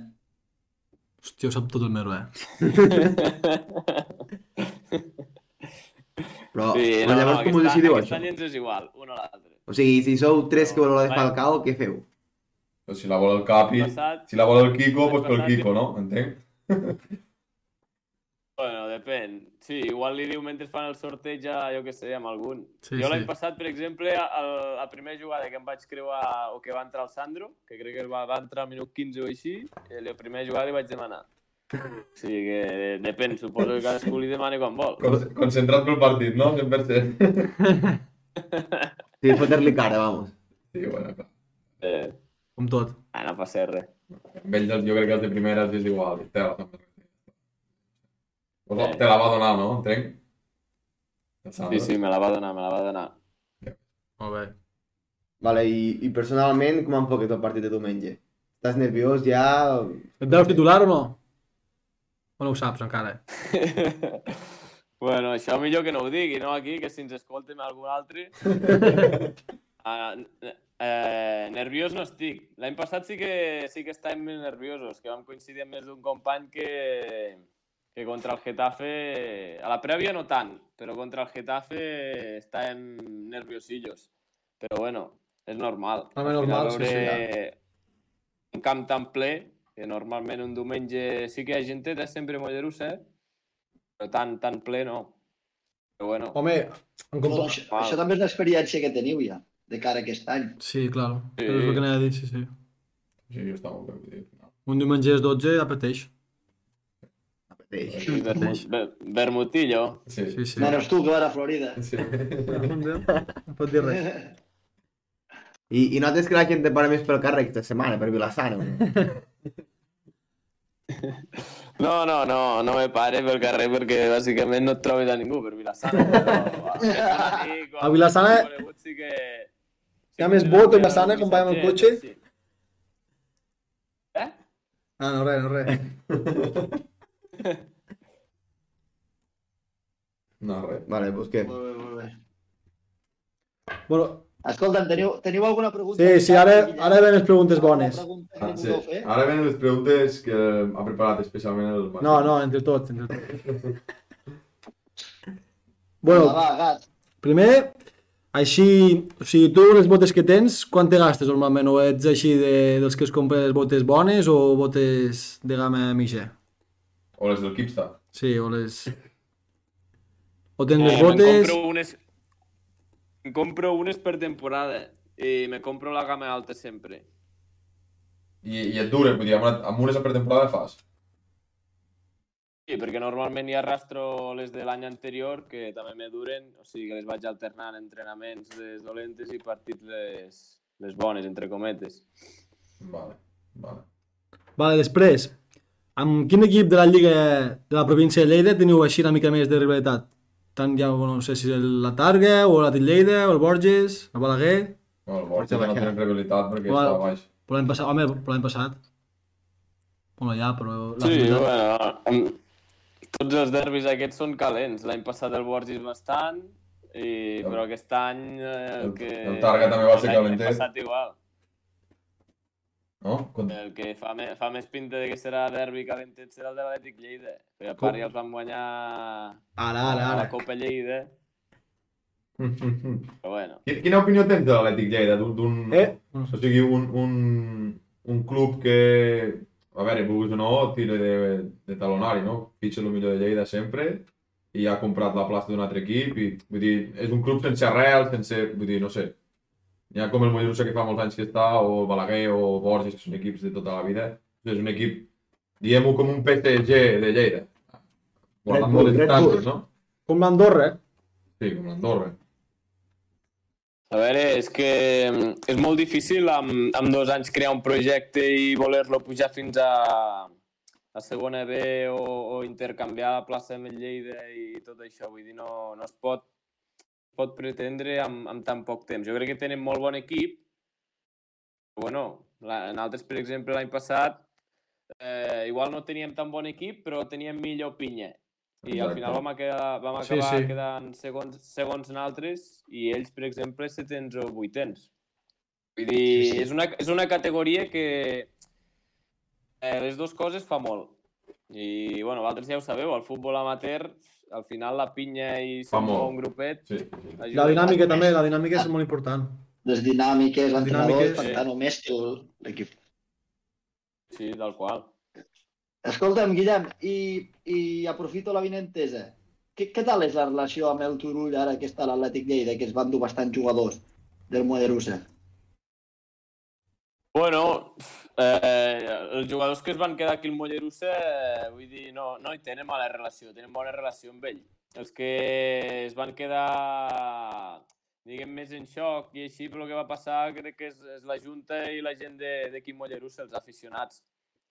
Hòstia, ho sap tot el meu, eh? Però, Sí, però llavors com ho decidiu, aquest això? any ens és igual, un a l'altre. O sigui, si sou tres que voleu la de Vale. Falcao, què feu? Però si la vol el Capi, L'any passat, si la vol el Kiko, doncs pel Kiko, no? Entenc? Bueno, depèn. Sí, igual li diu mentre fan el sorteig a, jo que sé, amb algun. Sí, Sí, jo l'any sí. passat, per exemple, a, a la primera jugada que em vaig creuar o que va entrar el Sandro, que crec que va, va entrar al minut 15 o així, i la primera jugada li vaig demanar. O sigui que eh, depèn, suposo que cadascú li demani quan vol. Con- Concentrat pel partit, no? 100%. Sí, és fotre-li cara, vamos. Sí, bueno, clar. Eh, Com tot. ah, no passa res. Amb ells jo crec que els de primera els és igual. Te la, Pues la- te la va donar, no? Entenc? El Sandro. Sí, sí, me la va donar, me la va donar. Molt bé. Vale, i, i personalment, com enfoques el partit de diumenge? Estàs nerviós ja? Et veus titular o no? O no ho saps encara? bueno, això millor que no ho digui, no? Aquí, que si ens escoltem algun altre... ah, n- eh, nerviós no estic. L'any passat sí que, sí que estàvem més nerviosos, que vam coincidir amb més d'un company que, que contra el Getafe... A la prèvia no tant, però contra el Getafe estàvem nerviosillos. Però bueno, és normal. Home, Al final normal, sí, sí, un camp tan ple, que normalment un diumenge sí que hi ha genteta, sempre a Mollerussa, eh? però tan, tan ple no. Però bueno, Home, en Però compa... Això, això també és una experiència que teniu ja, de cara a aquest any. Sí, clar. Sí. Sí. És el que anava a dir, sí, sí. Sí, jo estava molt bé. vull dir, no. Un diumenge és 12 apeteix. Apeteix. vermut, ver- vermutillo. Sí, sí. Sí, sí. Menys tu, que vas a Florida. sí. No pot dir res. I, I notes que la gent te para més pel carrer aquesta setmana, per Vilassana. no? No, no, no, no me pare pel carrer perquè bàsicament no et trobes a ningú per Vilassana. Però, A Vilassana- Sí que... Hi ha més vot a Vilassana quan va amb el cotxe? Sí. Eh? Ah, no, res, no, res. No, res. Vale, doncs què? Molt bé, molt bé. Bueno, Escolta'm, teniu, teniu alguna pregunta? sí, sí, ara, ara ven les preguntes bones. Pregunta Ah, que sí. vulgueu fer? Ara venen les preguntes que ha preparat especialment el Marc. No, no, entre tots, entre tots. Bueno, Va, va, gat. Primer, així, o sigui, tu les botes que tens, quan te gastes normalment? O ets així de, dels que es compres botes bones o botes de gamma mitja? O les del Kipsta. Sí, o les... O tens Eh, les me'n botes... compro unes... Em compro unes per temporada eh, i me compro la gamma alta sempre. I, I et dure, vull dir, amb, una, amb unes per temporada fas. Sí, perquè normalment hi arrastro les de l'any anterior que també me duren, o sigui que les vaig alternant entrenaments les dolentes i partits les, les bones, entre cometes. Vale, vale. Vale, després, amb quin equip de la Lliga de la província de Lleida teniu així una mica més de rivalitat? Tant ja, bueno, no sé si és la Targa, o la Lleida, o el Borges, el Balaguer... No, el Borges Força no baixada. tenen rivalitat perquè Igual. està baix. Però l'any passat, home, però l'any passat... Bueno, ja, però... la Sí, rivalitat- bueno, em- tots els derbis aquests són calents. L'any passat el Borges bastant, i, però aquest any... Eh, El- que... el Targa també va ser l'any calentet. passat igual. No? Contra... El que fa, me, fa més pinta de que serà derbi calentet serà el de l'Atlètic Lleida. Perquè a part ja els van guanyar Ara, ara, a la ara. Copa Lleida, Quina, però bueno. quina opinió tens de l'Atlètic Lleida? D'un... d'un- Eh? O sigui, un, un, un club que, a veure, vulguis o no, tira de, de talonari, no? Fitxa el millor de Lleida sempre i ha comprat la plaça d'un altre equip i, vull dir, és un club sense arrel, sense, vull dir, no sé. N'hi ha com el Mollerussa que fa molts anys que està, o el Balaguer, o Borges, que són equips de tota la vida. És un equip, diguem-ho com un PSG de Lleida. Guardant Red Bull, moltes Red Bull. distàncies, no? Com l'Andorra, eh? Sí, com l'Andorra. A veure, és que mm, és molt difícil amb, amb dos anys crear un projecte i voler-lo pujar fins a, a segona B o, o intercanviar la plaça amb el Lleida i tot això. Vull dir, no, no es pot, pot pretendre amb, amb tan poc temps. Jo crec que tenen molt bon equip. Bueno, la, en altres, per exemple, l'any passat eh, igual no teníem tan bon equip, però teníem millor pinya. I al Exacte. final vam acabar, vam Sí, acabar sí. quedant segons, segons nosaltres i ells, per exemple, setens o vuitens. Vull dir, Sí, sí. és una, és una categoria que eh, les dues coses fa molt. I, bueno, vosaltres ja ho sabeu, el futbol amateur, al final la pinya i Fa ser molt. un grupet... Sí. La dinàmica també, la dinàmica és molt important. Les dinàmiques, l'entrenador, dinàmiques, per sí. tant, el mestre, el- l'equip. Sí, del qual. Escolta'm, Guillem, i, i aprofito la vinentesa. Què, què tal és la relació amb el Turull ara que està a l'Atlètic Lleida, que es van dur bastants jugadors del Mollerussa? Bueno, eh, eh, els jugadors que es van quedar aquí al Mollerussa, eh, vull dir, no, no hi tenen mala relació, tenen bona relació amb ell. Els que es van quedar, diguem, més en xoc i així, però el que va passar crec que és, és la Junta i la gent de- d'aquí a Mollerussa, els aficionats.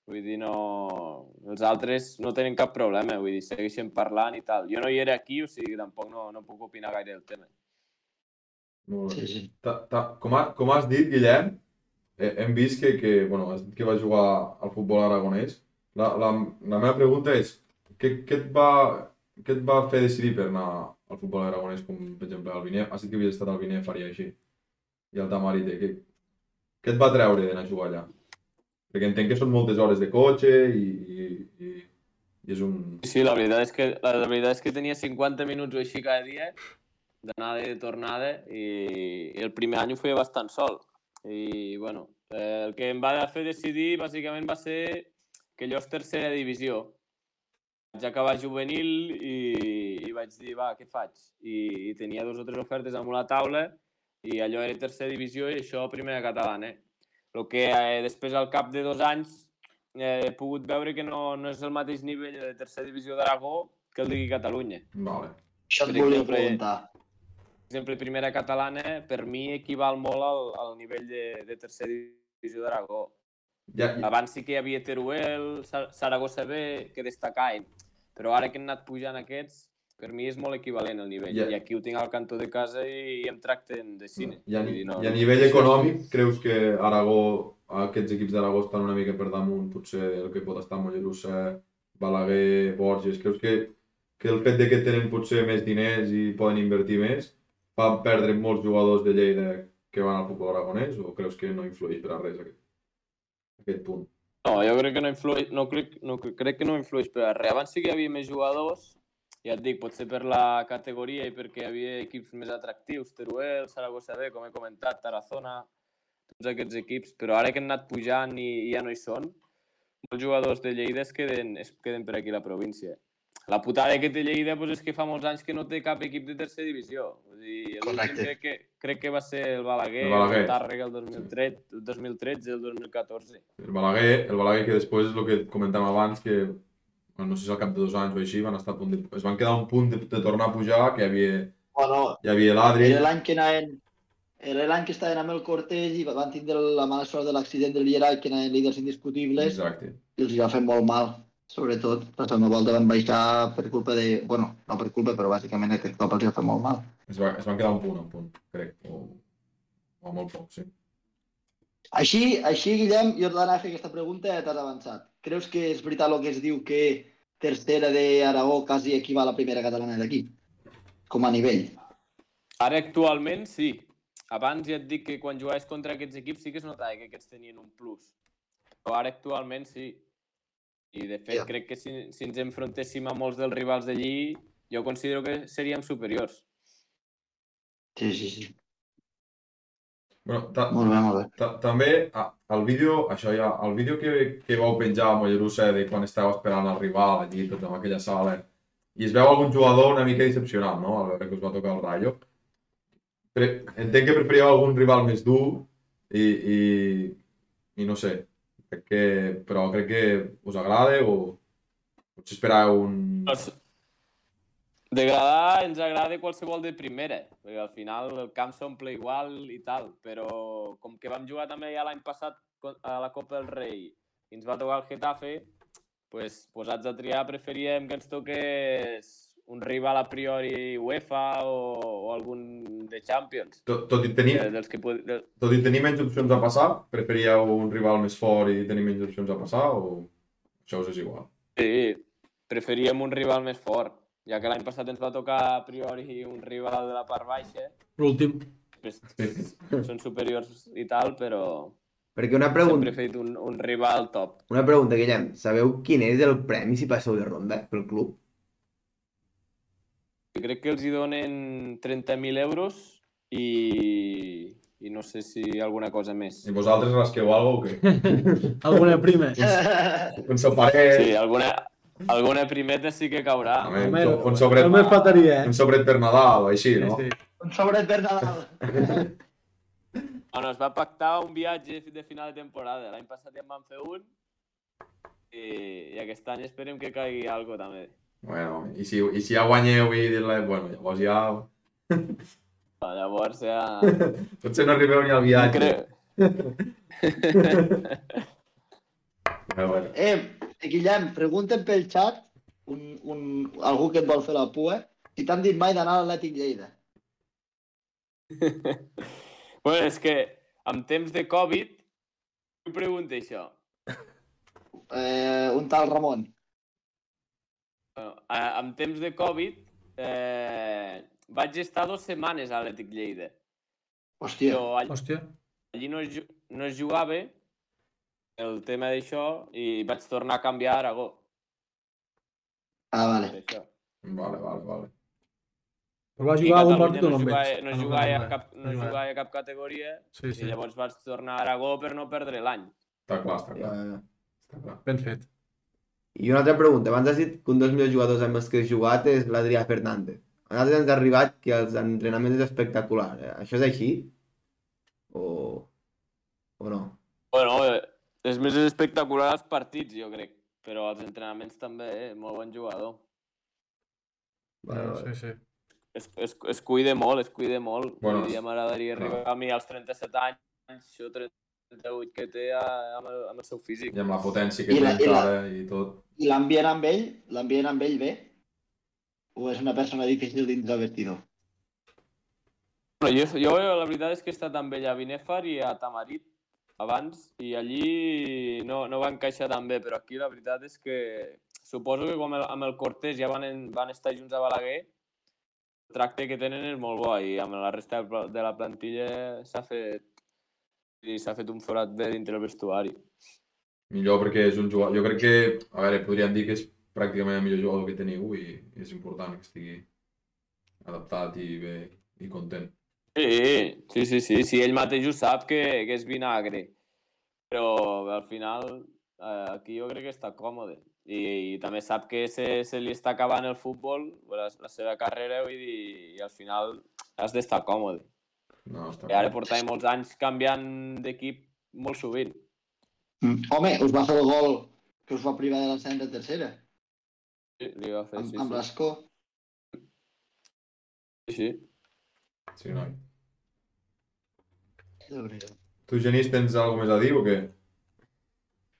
Vull dir, no... Els altres no tenen cap problema, vull dir, segueixen parlant i tal. Jo no hi era aquí, o sigui, tampoc no, no puc opinar gaire del tema. Molt bé. Sí, sí. Ta, ta, com, ha, com has dit, Guillem, eh, hem vist que, que, bueno, has dit que va jugar al futbol aragonès. La, la, la meva pregunta és, què, què, et va, què et va fer decidir per anar al futbol aragonès, com per exemple al Viner? Has dit que havies estat al Viner, faria així. I al Tamarite, què, què et va treure d'anar a jugar allà? Perquè entenc que són moltes hores de cotxe i, i, i, i és un... Sí, la veritat és que, la, la veritat és que tenia 50 minuts o així cada dia, d'anada i de tornada, i, i el primer any ho feia bastant sol. I, bueno, eh, el que em va fer decidir, bàsicament, va ser que allò és tercera divisió. Vaig acabar juvenil i, i vaig dir, va, què faig? I, i tenia dues o tres ofertes damunt la taula i allò era tercera divisió i això primera catalana. El que eh, després, al cap de dos anys, eh, he pogut veure que no, no és el mateix nivell de tercera divisió d'Aragó que el de Catalunya. Vale. Això et Per volia exemple, preguntar. Per exemple, primera catalana, per mi, equival molt al, al nivell de, de tercera divisió d'Aragó. Ja, ja, Abans sí que hi havia Teruel, Sa- Saragossa B, que destacaven, però ara que han anat pujant aquests, per mi és molt equivalent el nivell. Ja. I aquí ho tinc al cantó de casa i, i em tracten de cine. I a, Vull dir, I a nivell econòmic, creus que Aragó, aquests equips d'Aragó estan una mica per damunt, potser el que pot estar Mollerussa, Balaguer, Borges, creus que, que el fet de que tenen potser més diners i poden invertir més fa perdre molts jugadors de Lleida que van al futbol aragonès o creus que no influeix per a res aquest, aquest punt? No, jo crec que no influeix, no crec, no, crec que no influeix per a res. Abans sí que hi havia més jugadors ja et dic, potser per la categoria i perquè hi havia equips més atractius, Teruel, Saragossa B, com he comentat, Tarazona, tots aquests equips, però ara que han anat pujant i, i ja no hi són, molts jugadors de Lleida es queden, es queden per aquí a la província. La putada que té Lleida doncs, és que fa molts anys que no té cap equip de tercera divisió. Vull dir, l'últim Correcte. crec, que, crec que va ser el Balaguer, El el, Balaguer. Balaguer. el Tàrrega el 2013, el 2013, el 2014. El Balaguer, el Balaguer que després és el que comentàvem abans, que bueno, no sé si al cap de dos anys o així van estar a punt de, es van quedar a un punt de, de tornar a pujar, que hi havia, Bueno, hi havia l'Adri, Era l'any que anaven... Era l'any que estaven amb el Cortés i van tindre la mala sort de l'accident del Lleral, que anaven líders indiscutibles, exacte. i els hi va fer molt mal, sobretot. La segona volta van baixar per culpa de... Bueno, no per culpa, però bàsicament aquest cop els hi va fer molt mal. Es, va, es van quedar a un punt, a un punt, crec, o, o molt poc, sí. Així, així Guillem, jo t'anava a fer aquesta pregunta i t'has avançat. Creus que és veritat el que es diu que tercera d'Aragó quasi equival a la primera catalana d'aquí? Com a nivell. Ara actualment sí. Abans ja et dic que quan jugaves contra aquests equips sí que es notava que aquests tenien un plus. Però ara actualment sí. I de fet Ja. crec que si, si ens enfrontéssim a molts dels rivals d'allí, jo considero que seríem superiors. Sí, sí, sí. Bueno, ta, Molt bé, molt bé. ta, també ah, el vídeo, això ja, el vídeo que, que vau penjar a Mollerussa de quan estava esperant el rival allí, tot en tota aquella sala, i es veu algun jugador una mica decepcionat, no?, al veure que us va tocar el Rayo. Pre entenc que preferíeu algun rival més dur i, i, i no sé, crec que, però crec que us agrada o potser esperàveu un... Els- Degradar ens agrada qualsevol de primera, perquè al final el camp s'omple igual i tal, però com que vam jugar també ja l'any passat con- a la Copa del Rei i ens va tocar el Getafe, pues, posats a triar preferíem que ens toqués un rival a priori UEFA o, o algun de Champions, Tot, tot, i tenir, eh, dels que pod- de- tot i tenir menys opcions a passar, preferíeu un rival més fort i tenir menys opcions a passar o això us és igual? Sí, preferíem un rival més fort, ja que l'any passat ens va tocar a priori un rival de la part baixa, L'últim. després són superiors i tal, però Perquè una sempre pregunta, he fet un, un rival top. una pregunta, Guillem. Sabeu quin és el premi si passeu de ronda pel club? Jo crec que els hi donen 30.000 euros i, i no sé si alguna cosa més. I vosaltres rasqueu alguna o què? Alguna prima. Penseu paret, Sí, alguna, alguna primeta sí que caurà. Home. Home, Un- un sobret. Només faltaria, un eh? sobret per Nadal, o així, no? Sí, sí. Un sobret per Nadal. Bueno, es va pactar un viatge de final de temporada. L'any passat ja en vam fer un i, i aquest any esperem que caigui algo també. Bueno, i si, i si ja guanyeu i dir-la, bueno, llavors ja... Però llavors ja... Potser no arribeu ni al viatge. Crec... Però bueno. Eh, Guillem, pregunten pel xat un, un, algú que et vol fer la pua si t'han dit mai d'anar a l'Atlètic Lleida. Bueno, és que amb temps de Covid, jo pregunto això. Eh, un tal Ramon. Bueno, a- amb temps de Covid, eh, vaig estar dues setmanes a l'Atlètic Lleida. Hòstia, Però all- Hòstia. allí no es, ju- no es jugava el tema d'això i vaig tornar a canviar a Aragó. ah, per vale. Això. Vale, vale, vale. Però va I jugar algun Catalunya partit o no no amb jugava, ells? no Ah, jugava, no, a cap, no jugava. jugava a cap categoria Sí, i sí. llavors vaig tornar a Aragó per no perdre l'any. Està clar, està clar. Eh, Està clar. Ben fet. I una altra pregunta. Abans has dit que un dels millors jugadors amb els que has jugat és l'Adrià Fernández. A nosaltres ens ha arribat que els entrenaments és espectacular. Eh, Això és així? O, o no? Bueno, eh, és més espectacular els partits, jo crec. Però els entrenaments també, eh? molt bon jugador. Vale, vale. Sí, sí. es, es, es cuida molt, es cuida molt. Bueno, Bueno, ah. ja m'agradaria clar. arribar a mi als 37 anys, o 38 que té a- amb el, amb el seu físic. I amb la potència I que té la- i la- encara i tot. I l'ambient amb ell, l'ambient amb ell bé? O és una persona difícil dins del vestidor? Bueno, jo, jo la veritat és que he estat amb ell a Binefar i a Tamarit abans i allí no, no va encaixar tan bé, però aquí la veritat és que suposo que com el, amb el Cortés ja van, en, van estar junts a Balaguer, el tracte que tenen és molt bo i amb la resta de pla- de la plantilla s'ha fet i s'ha fet un forat bé dintre el vestuari. Millor perquè és un jugador... Jo crec que, a veure, podríem dir que és pràcticament el millor jugador que teniu i és important que estigui adaptat i bé i content. Sí, sí, sí, sí, sí, ell mateix ho sap que, que és vinagre, però al final eh, aquí jo crec que està còmode i, i també sap que se, se li està acabant el futbol, la, la seva carrera, vull dir, i al final has d'estar còmode. No, està I ara portava molts anys canviant d'equip molt sovint. Mm. Home, us va fer el gol que us va privar de l'ascens de tercera, Sí, li va fer, amb, sí, amb sí, l'Escó. sí, sí. Sí, noi. Déu-n'hi-do. Tu, Genís, tens alguna més a dir o què?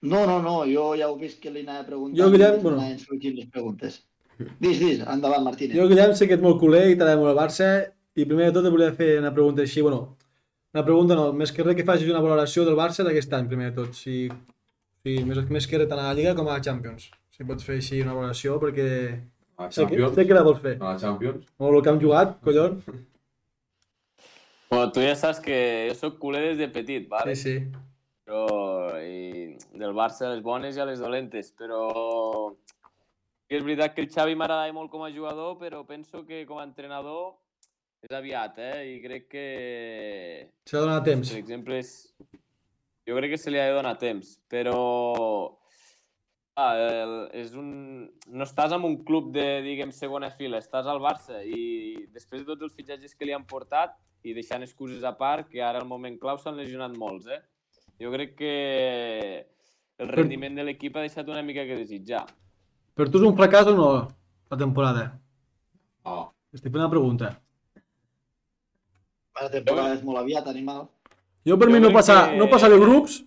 No, no, no, jo ja heu vist que li anava preguntant. Jo, Guillem, bueno. Anaven sorgint les preguntes. Dis, dis, endavant, Martínez. Jo, Guillem, sé que ets molt culer i t'agrada molt el Barça i primer de tot et volia fer una pregunta així, bueno, una pregunta no, més que res que facis una valoració del Barça d'aquest any, primer de tot, si, si més, més que res tant a la Lliga com a la Champions. Si pots fer així una valoració perquè A la sé que, Champions? sé que la vols Ah. fer. A la Champions? O el que hem jugat, collons. Bueno, tu ja saps que jo sóc culer des de petit, vale? Sí, sí. però i del Barça les bones i a les dolentes, però sí que és veritat que el Xavi m'agradava molt com a jugador, però penso que com a entrenador és aviat, eh? I crec que, S'ha donat temps. per exemple, és... jo crec que se li ha de donar temps, però ah, el, és un... no estàs en un club de, diguem, segona fila, estàs al Barça i després de tots els fitxatges que li han portat i deixant excuses a part, que ara al moment clau s'han lesionat molts, eh? Jo crec que el rendiment de l'equip ha deixat una mica que desitjar. Per tu és un fracàs o no, la temporada? Ah, Estic fent una pregunta. La temporada és molt aviat, animal. Jo per Jo mi no crec passar, que- no passar de grups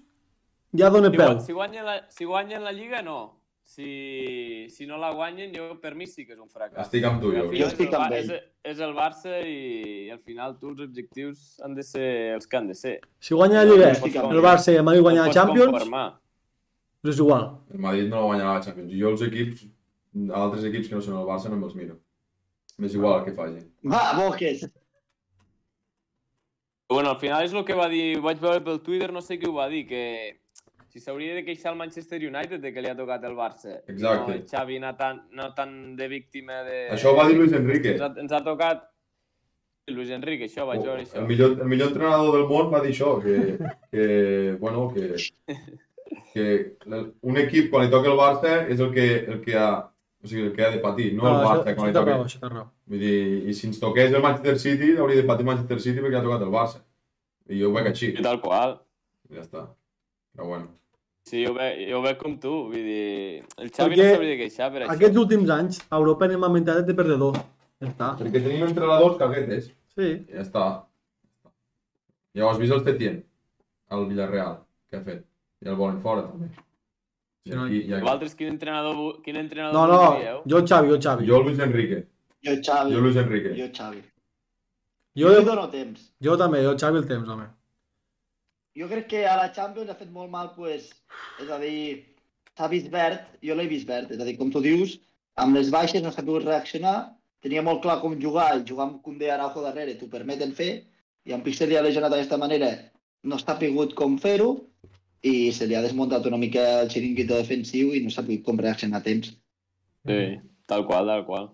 ja dóna Si, peu. gua- si, guanyen la, si guanyen la Lliga, no. Si, si no la guanyen, jo per mi sí que és un fracàs. estic amb tu, Al jo. final Jo és estic el Bar- amb ell. És, és el Barça i, i al final tu els objectius han de ser els que han de ser. Si guanya la Lliga, No pots el Barça i el Madrid guanya No la pots Champions, conformar. però és igual. El Madrid no guanyarà la Champions. Jo els equips, altres equips que no són el Barça, no me'ls miro. M'és igual el que facin. Va, boques! Bueno, al final és el que va dir, vaig veure pel Twitter, no sé qui ho va dir, que si s'hauria de queixar el Manchester United de que li ha tocat el Barça. Exacte. No, el Xavi anar tan, no tan de víctima de... Això ho va dir Luis Enrique. Oh, Ens ha, ens ha tocat... Luis Enrique, això, vaig veure això. El millor, el millor entrenador del món va dir això, que, que bueno, que, que l- un equip quan li toca el Barça és el que, el que ha, o sigui, el que ha de patir, no, el Ah, això, Barça això quan li té toca. raó, això té raó. Vull dir, i si ens toqués el Manchester City, hauria de patir Manchester City perquè ha tocat el Barça. I jo ho veig així, I tal qual. ja està. Però bueno, Sí, jo ho ve, jo ho veig com tu, vull dir... El Xavi Perquè no s'hauria de queixar per això. Aquests últims anys, a Europa anem amb mentalitat de perdedor. Ja està. perquè tenim entrenadors caguetes, Sí. ja està. Ja ho has vist el Tetien, al Villarreal, que ha fet. I el volen fora, també. I Sí, noi. aquí, i aquí. Vosaltres, quin entrenador, vo- quin entrenador No, no, voldríeu? jo el Xavi, jo el Xavi. Jo el Luis Enrique, Jo, Xavi. jo el Luis Enrique. Jo, Xavi. Jo, Jo, li dono temps. jo també, jo el Xavi el temps, home. Jo crec que a la Champions ha fet molt mal, pues, és a dir, s'ha vist verd, jo l'he vist verd, és a dir, com tu dius, amb les baixes no s'ha pogut reaccionar, tenia molt clar com jugar, i jugar amb Koundé i Araujo darrere t'ho permeten fer, i amb Pixel ja lesionat d'aquesta manera no s'ha pogut com fer-ho, i se li ha desmuntat una mica el xiringuito defensiu i no s'ha pogut com reaccionar a temps. Sí, tal qual, tal qual.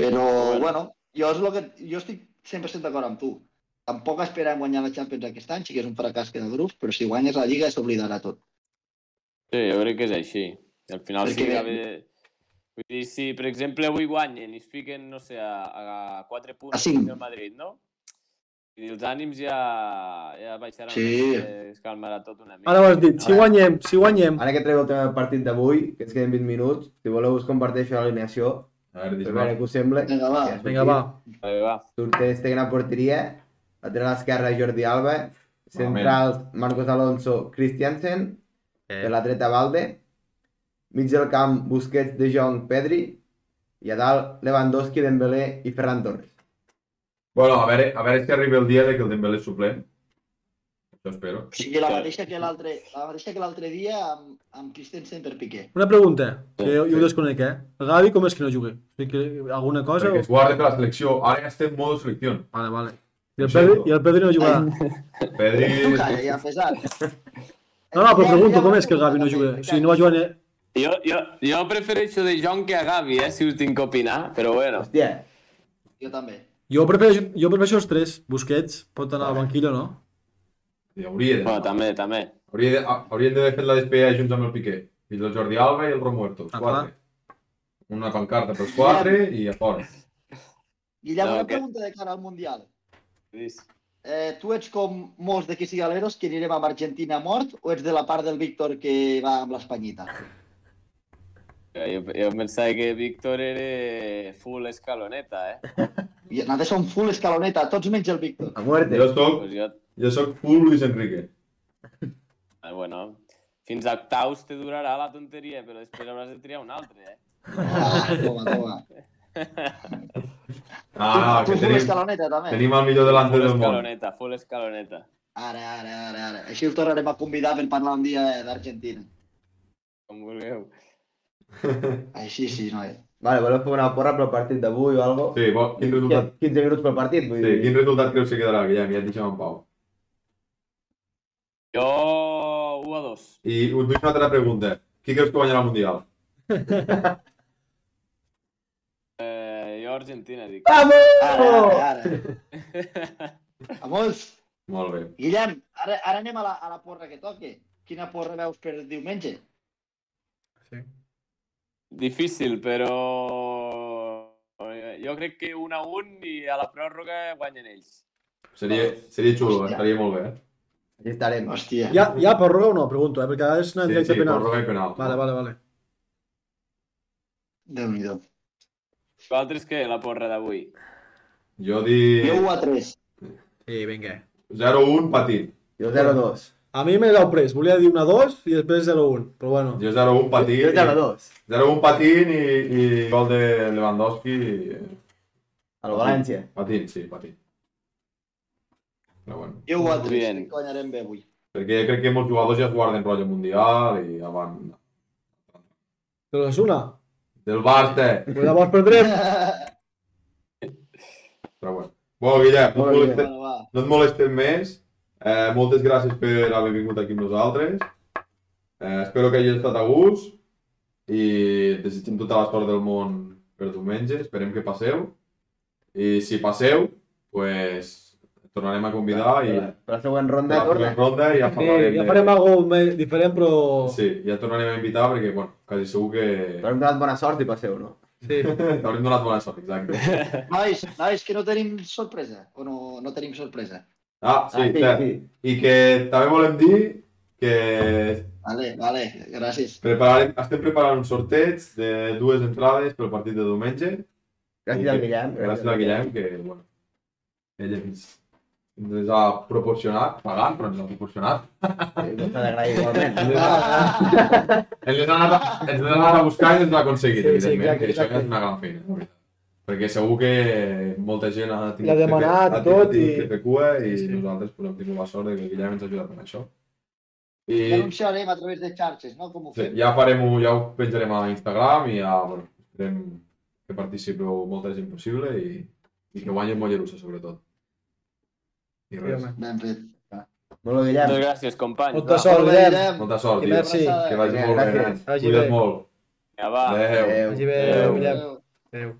Però, Bueno. bueno, jo, és lo que, jo estic 100% d'acord amb tu. Tampoc esperem guanyar la Champions aquest any, sí que és un fracàs que de grups, però si guanyes la Lliga s'oblidarà tot. Sí, jo crec que és així. I al final sí Perquè- que... Ve... Vull dir, si per exemple avui guanyen i es fiquen, no sé, a, a 4 punts A cinc. del Madrid, no? I els ànims ja, ja baixaran, Sí. eh, es calmarà tot una mica. Ara ho has dit, si guanyem, si guanyem. Ara que treu el tema del partit d'avui, que ens queden 20 minuts, si voleu us comparteixo l'alineació, A veure, per dis-me. veure què us sembla. Vinga, va. Ja, Vinga, va. Bé, va. Surte Stegen a porteria, lateral esquerra Jordi Alba, centrals Marcos Alonso, Christiansen, Eh. per la dreta Valde, mig del camp Busquets, De Jong, Pedri, i a dalt Lewandowski, Dembélé i Ferran Torres. Bueno, a veure, a veure si arriba el dia de que el Dembélé és suplent. Això espero. O sigui, la Clar. mateixa que l'altre la mateixa que l'altre dia amb, amb Christensen per Piqué. Una pregunta, que jo, Sí. jo ho desconec, eh? El Gavi com és que no jugui? O sigui, que alguna cosa? Perquè es O... guarda que la selecció ara ja està en modo selecció. Vale, vale. I el, Sí, Pedri, no. I el Pedri no jugarà. Pedri... Tu calla, ja, pesat. No, no, però pregunto, com és que el Gavi no juga? O sigui, no va jugar ni, Jo, jo, jo prefereixo De Jong que a Gavi, eh, si us tinc que opinar, però bueno. Hòstia, Jo també. Jo prefereixo, jo prefereixo els tres. Busquets pot anar al banquillo, no? I hauria de... Bueno, també, també. Hauria de, ha- haurien d'haver fet la despedida junts amb el Piqué. I el Jordi Alba i el Romuerto, els Ah, quatre. Una pancarta pels quatre i a fora. Guillem, No, una que- pregunta de cara al Mundial. Lluís. Eh, tu ets com molts d'aquí cigaleros que anirem amb Argentina a mort o ets de la part del Víctor que va amb l'Espanyita? Jo, jo pensava que Víctor era full escaloneta, eh? I nosaltres som full escaloneta, tots menys el Víctor. a muerte. Jo soc, Pues jo, jo soc full Luis Enrique. eh, bueno, fins a octaus te durarà la tonteria, però després hauràs de triar un altre, eh? Ah, toma, toma. Ah, no, que tu full tenim, escaloneta també? tenim el millor Full delante del món. escaloneta, full escaloneta. Ara, ara, ara, ara. Així el tornarem a convidar per parlar un dia eh, d'Argentina. Com vulgueu. Així sí, noi. Vale, voleu fer una porra pel partit d'avui o algo? Sí, bo, quin resultat, 15 minuts pel partit, vull sí, dir. quin resultat creus que quedarà, Guillem? Ja et deixem en pau. Jo... 1 a 2. I us vull una altra pregunta. Qui creus que guanyarà el Mundial? Eh, jo Argentina, dic. Ara, ara, ara. Vamos, Molt bé. Guillem, ara, ara anem a la, a la porra que toque. Quina porra veus per diumenge? Sí. Difícil, però... eh, Jo crec que 1 a 1 i a la pròrroga guanyen ells. Seria, seria xulo, Hòstia. estaria molt bé. eh? Aquí estarem. Hòstia. Hi ha, hi ha pròrroga o no? Pregunto, eh? Perquè a vegades no Sí, hi ha sí, directe penal. pròrroga i penal. Vale, vale, vale. Déu-n'hi-do. Vosaltres què, la porra d'avui? Jo dic Jo 1 a 3. Sí, vinga. 0-1 patit. Jo 0-2. A mi m'he deu pres. Volia dir una 2 i després 0-1. Però bueno. Jo 0-1 patit. Jo 0-2. 0-1 patint i, i gol de Lewandowski. i- Al València. Patint, sí, patint. Però bueno, Jo 1 a Molt 3. bien. Crec que Guanyarem bé avui. perquè crec que molts jugadors ja es guarden rotllo mundial i avant Però és una. del Barça. Pues llavors perdrem. Però bueno. Bueno, Guillem, no, Molt et bé, molestem, bueno, va. no et molestem més. Eh, moltes gràcies per haver vingut aquí amb nosaltres. Eh, espero que hagi estat a gust i et desitgem tota la sort del món per diumenge. Esperem que passeu. I si passeu, pues, et tornarem a convidar i Per la següent a ronda la torna. següent ronda ja Sí, parlarem. Eh, ja de- farem alguna cosa diferent, però... Sí. Sí, ja et tornarem a invitar perquè, bueno, quasi segur que... Però hem donat bona sort i passeu, no? sí. T'haurem donat bona sort, exacte. Nois, nois, que no tenim sorpresa. O no, no tenim sorpresa. Ah, sí, Ah, cert. I que també volem dir que Vale, vale. Gràcies. prepararem, estem preparant un sorteig de dues entrades pel partit de diumenge. I Gràcies que- al Guillem. Gràcies al Guillem, que, bueno, ell ens, ens ha proporcionat, pagant, però ens ha proporcionat. Sí, doncs s'ha d'agrair igualment. Ens les ha, ens les ha anat, a- ens les ha anat a buscar i ens l'ha aconseguit, Sí, sí, evidentment. exacte, que això exacte. és una gran feina, la veritat. Perquè segur que molta gent ha tingut, L'ha demanat que, fer- ha tingut tot tingut i- que fer cua i Sí, sí. nosaltres podem tenir la sort de que Guillem ens ha ajudat en això. I I... Anunciarem a través de xarxes, no? Com ho sí, fem. ja farem -ho, ja ho penjarem a Instagram i ja, bueno, esperem que participeu molta gent possible i, i que guanyin Mollerussa, sobretot. I sí res, home. Ben fet. Molt bé, Moltes Guillem. gràcies, companys. Molta va. sort, Molt bé, Guillem. Guillem. molta sort I i merci. abraçada. que vagi molt bé. Gràcies. nen. Vagi Cuida't bé. molt. Ja va. Adéu. Adéu. Vagi bé, Adéu. Guillem. Adéu. Adéu.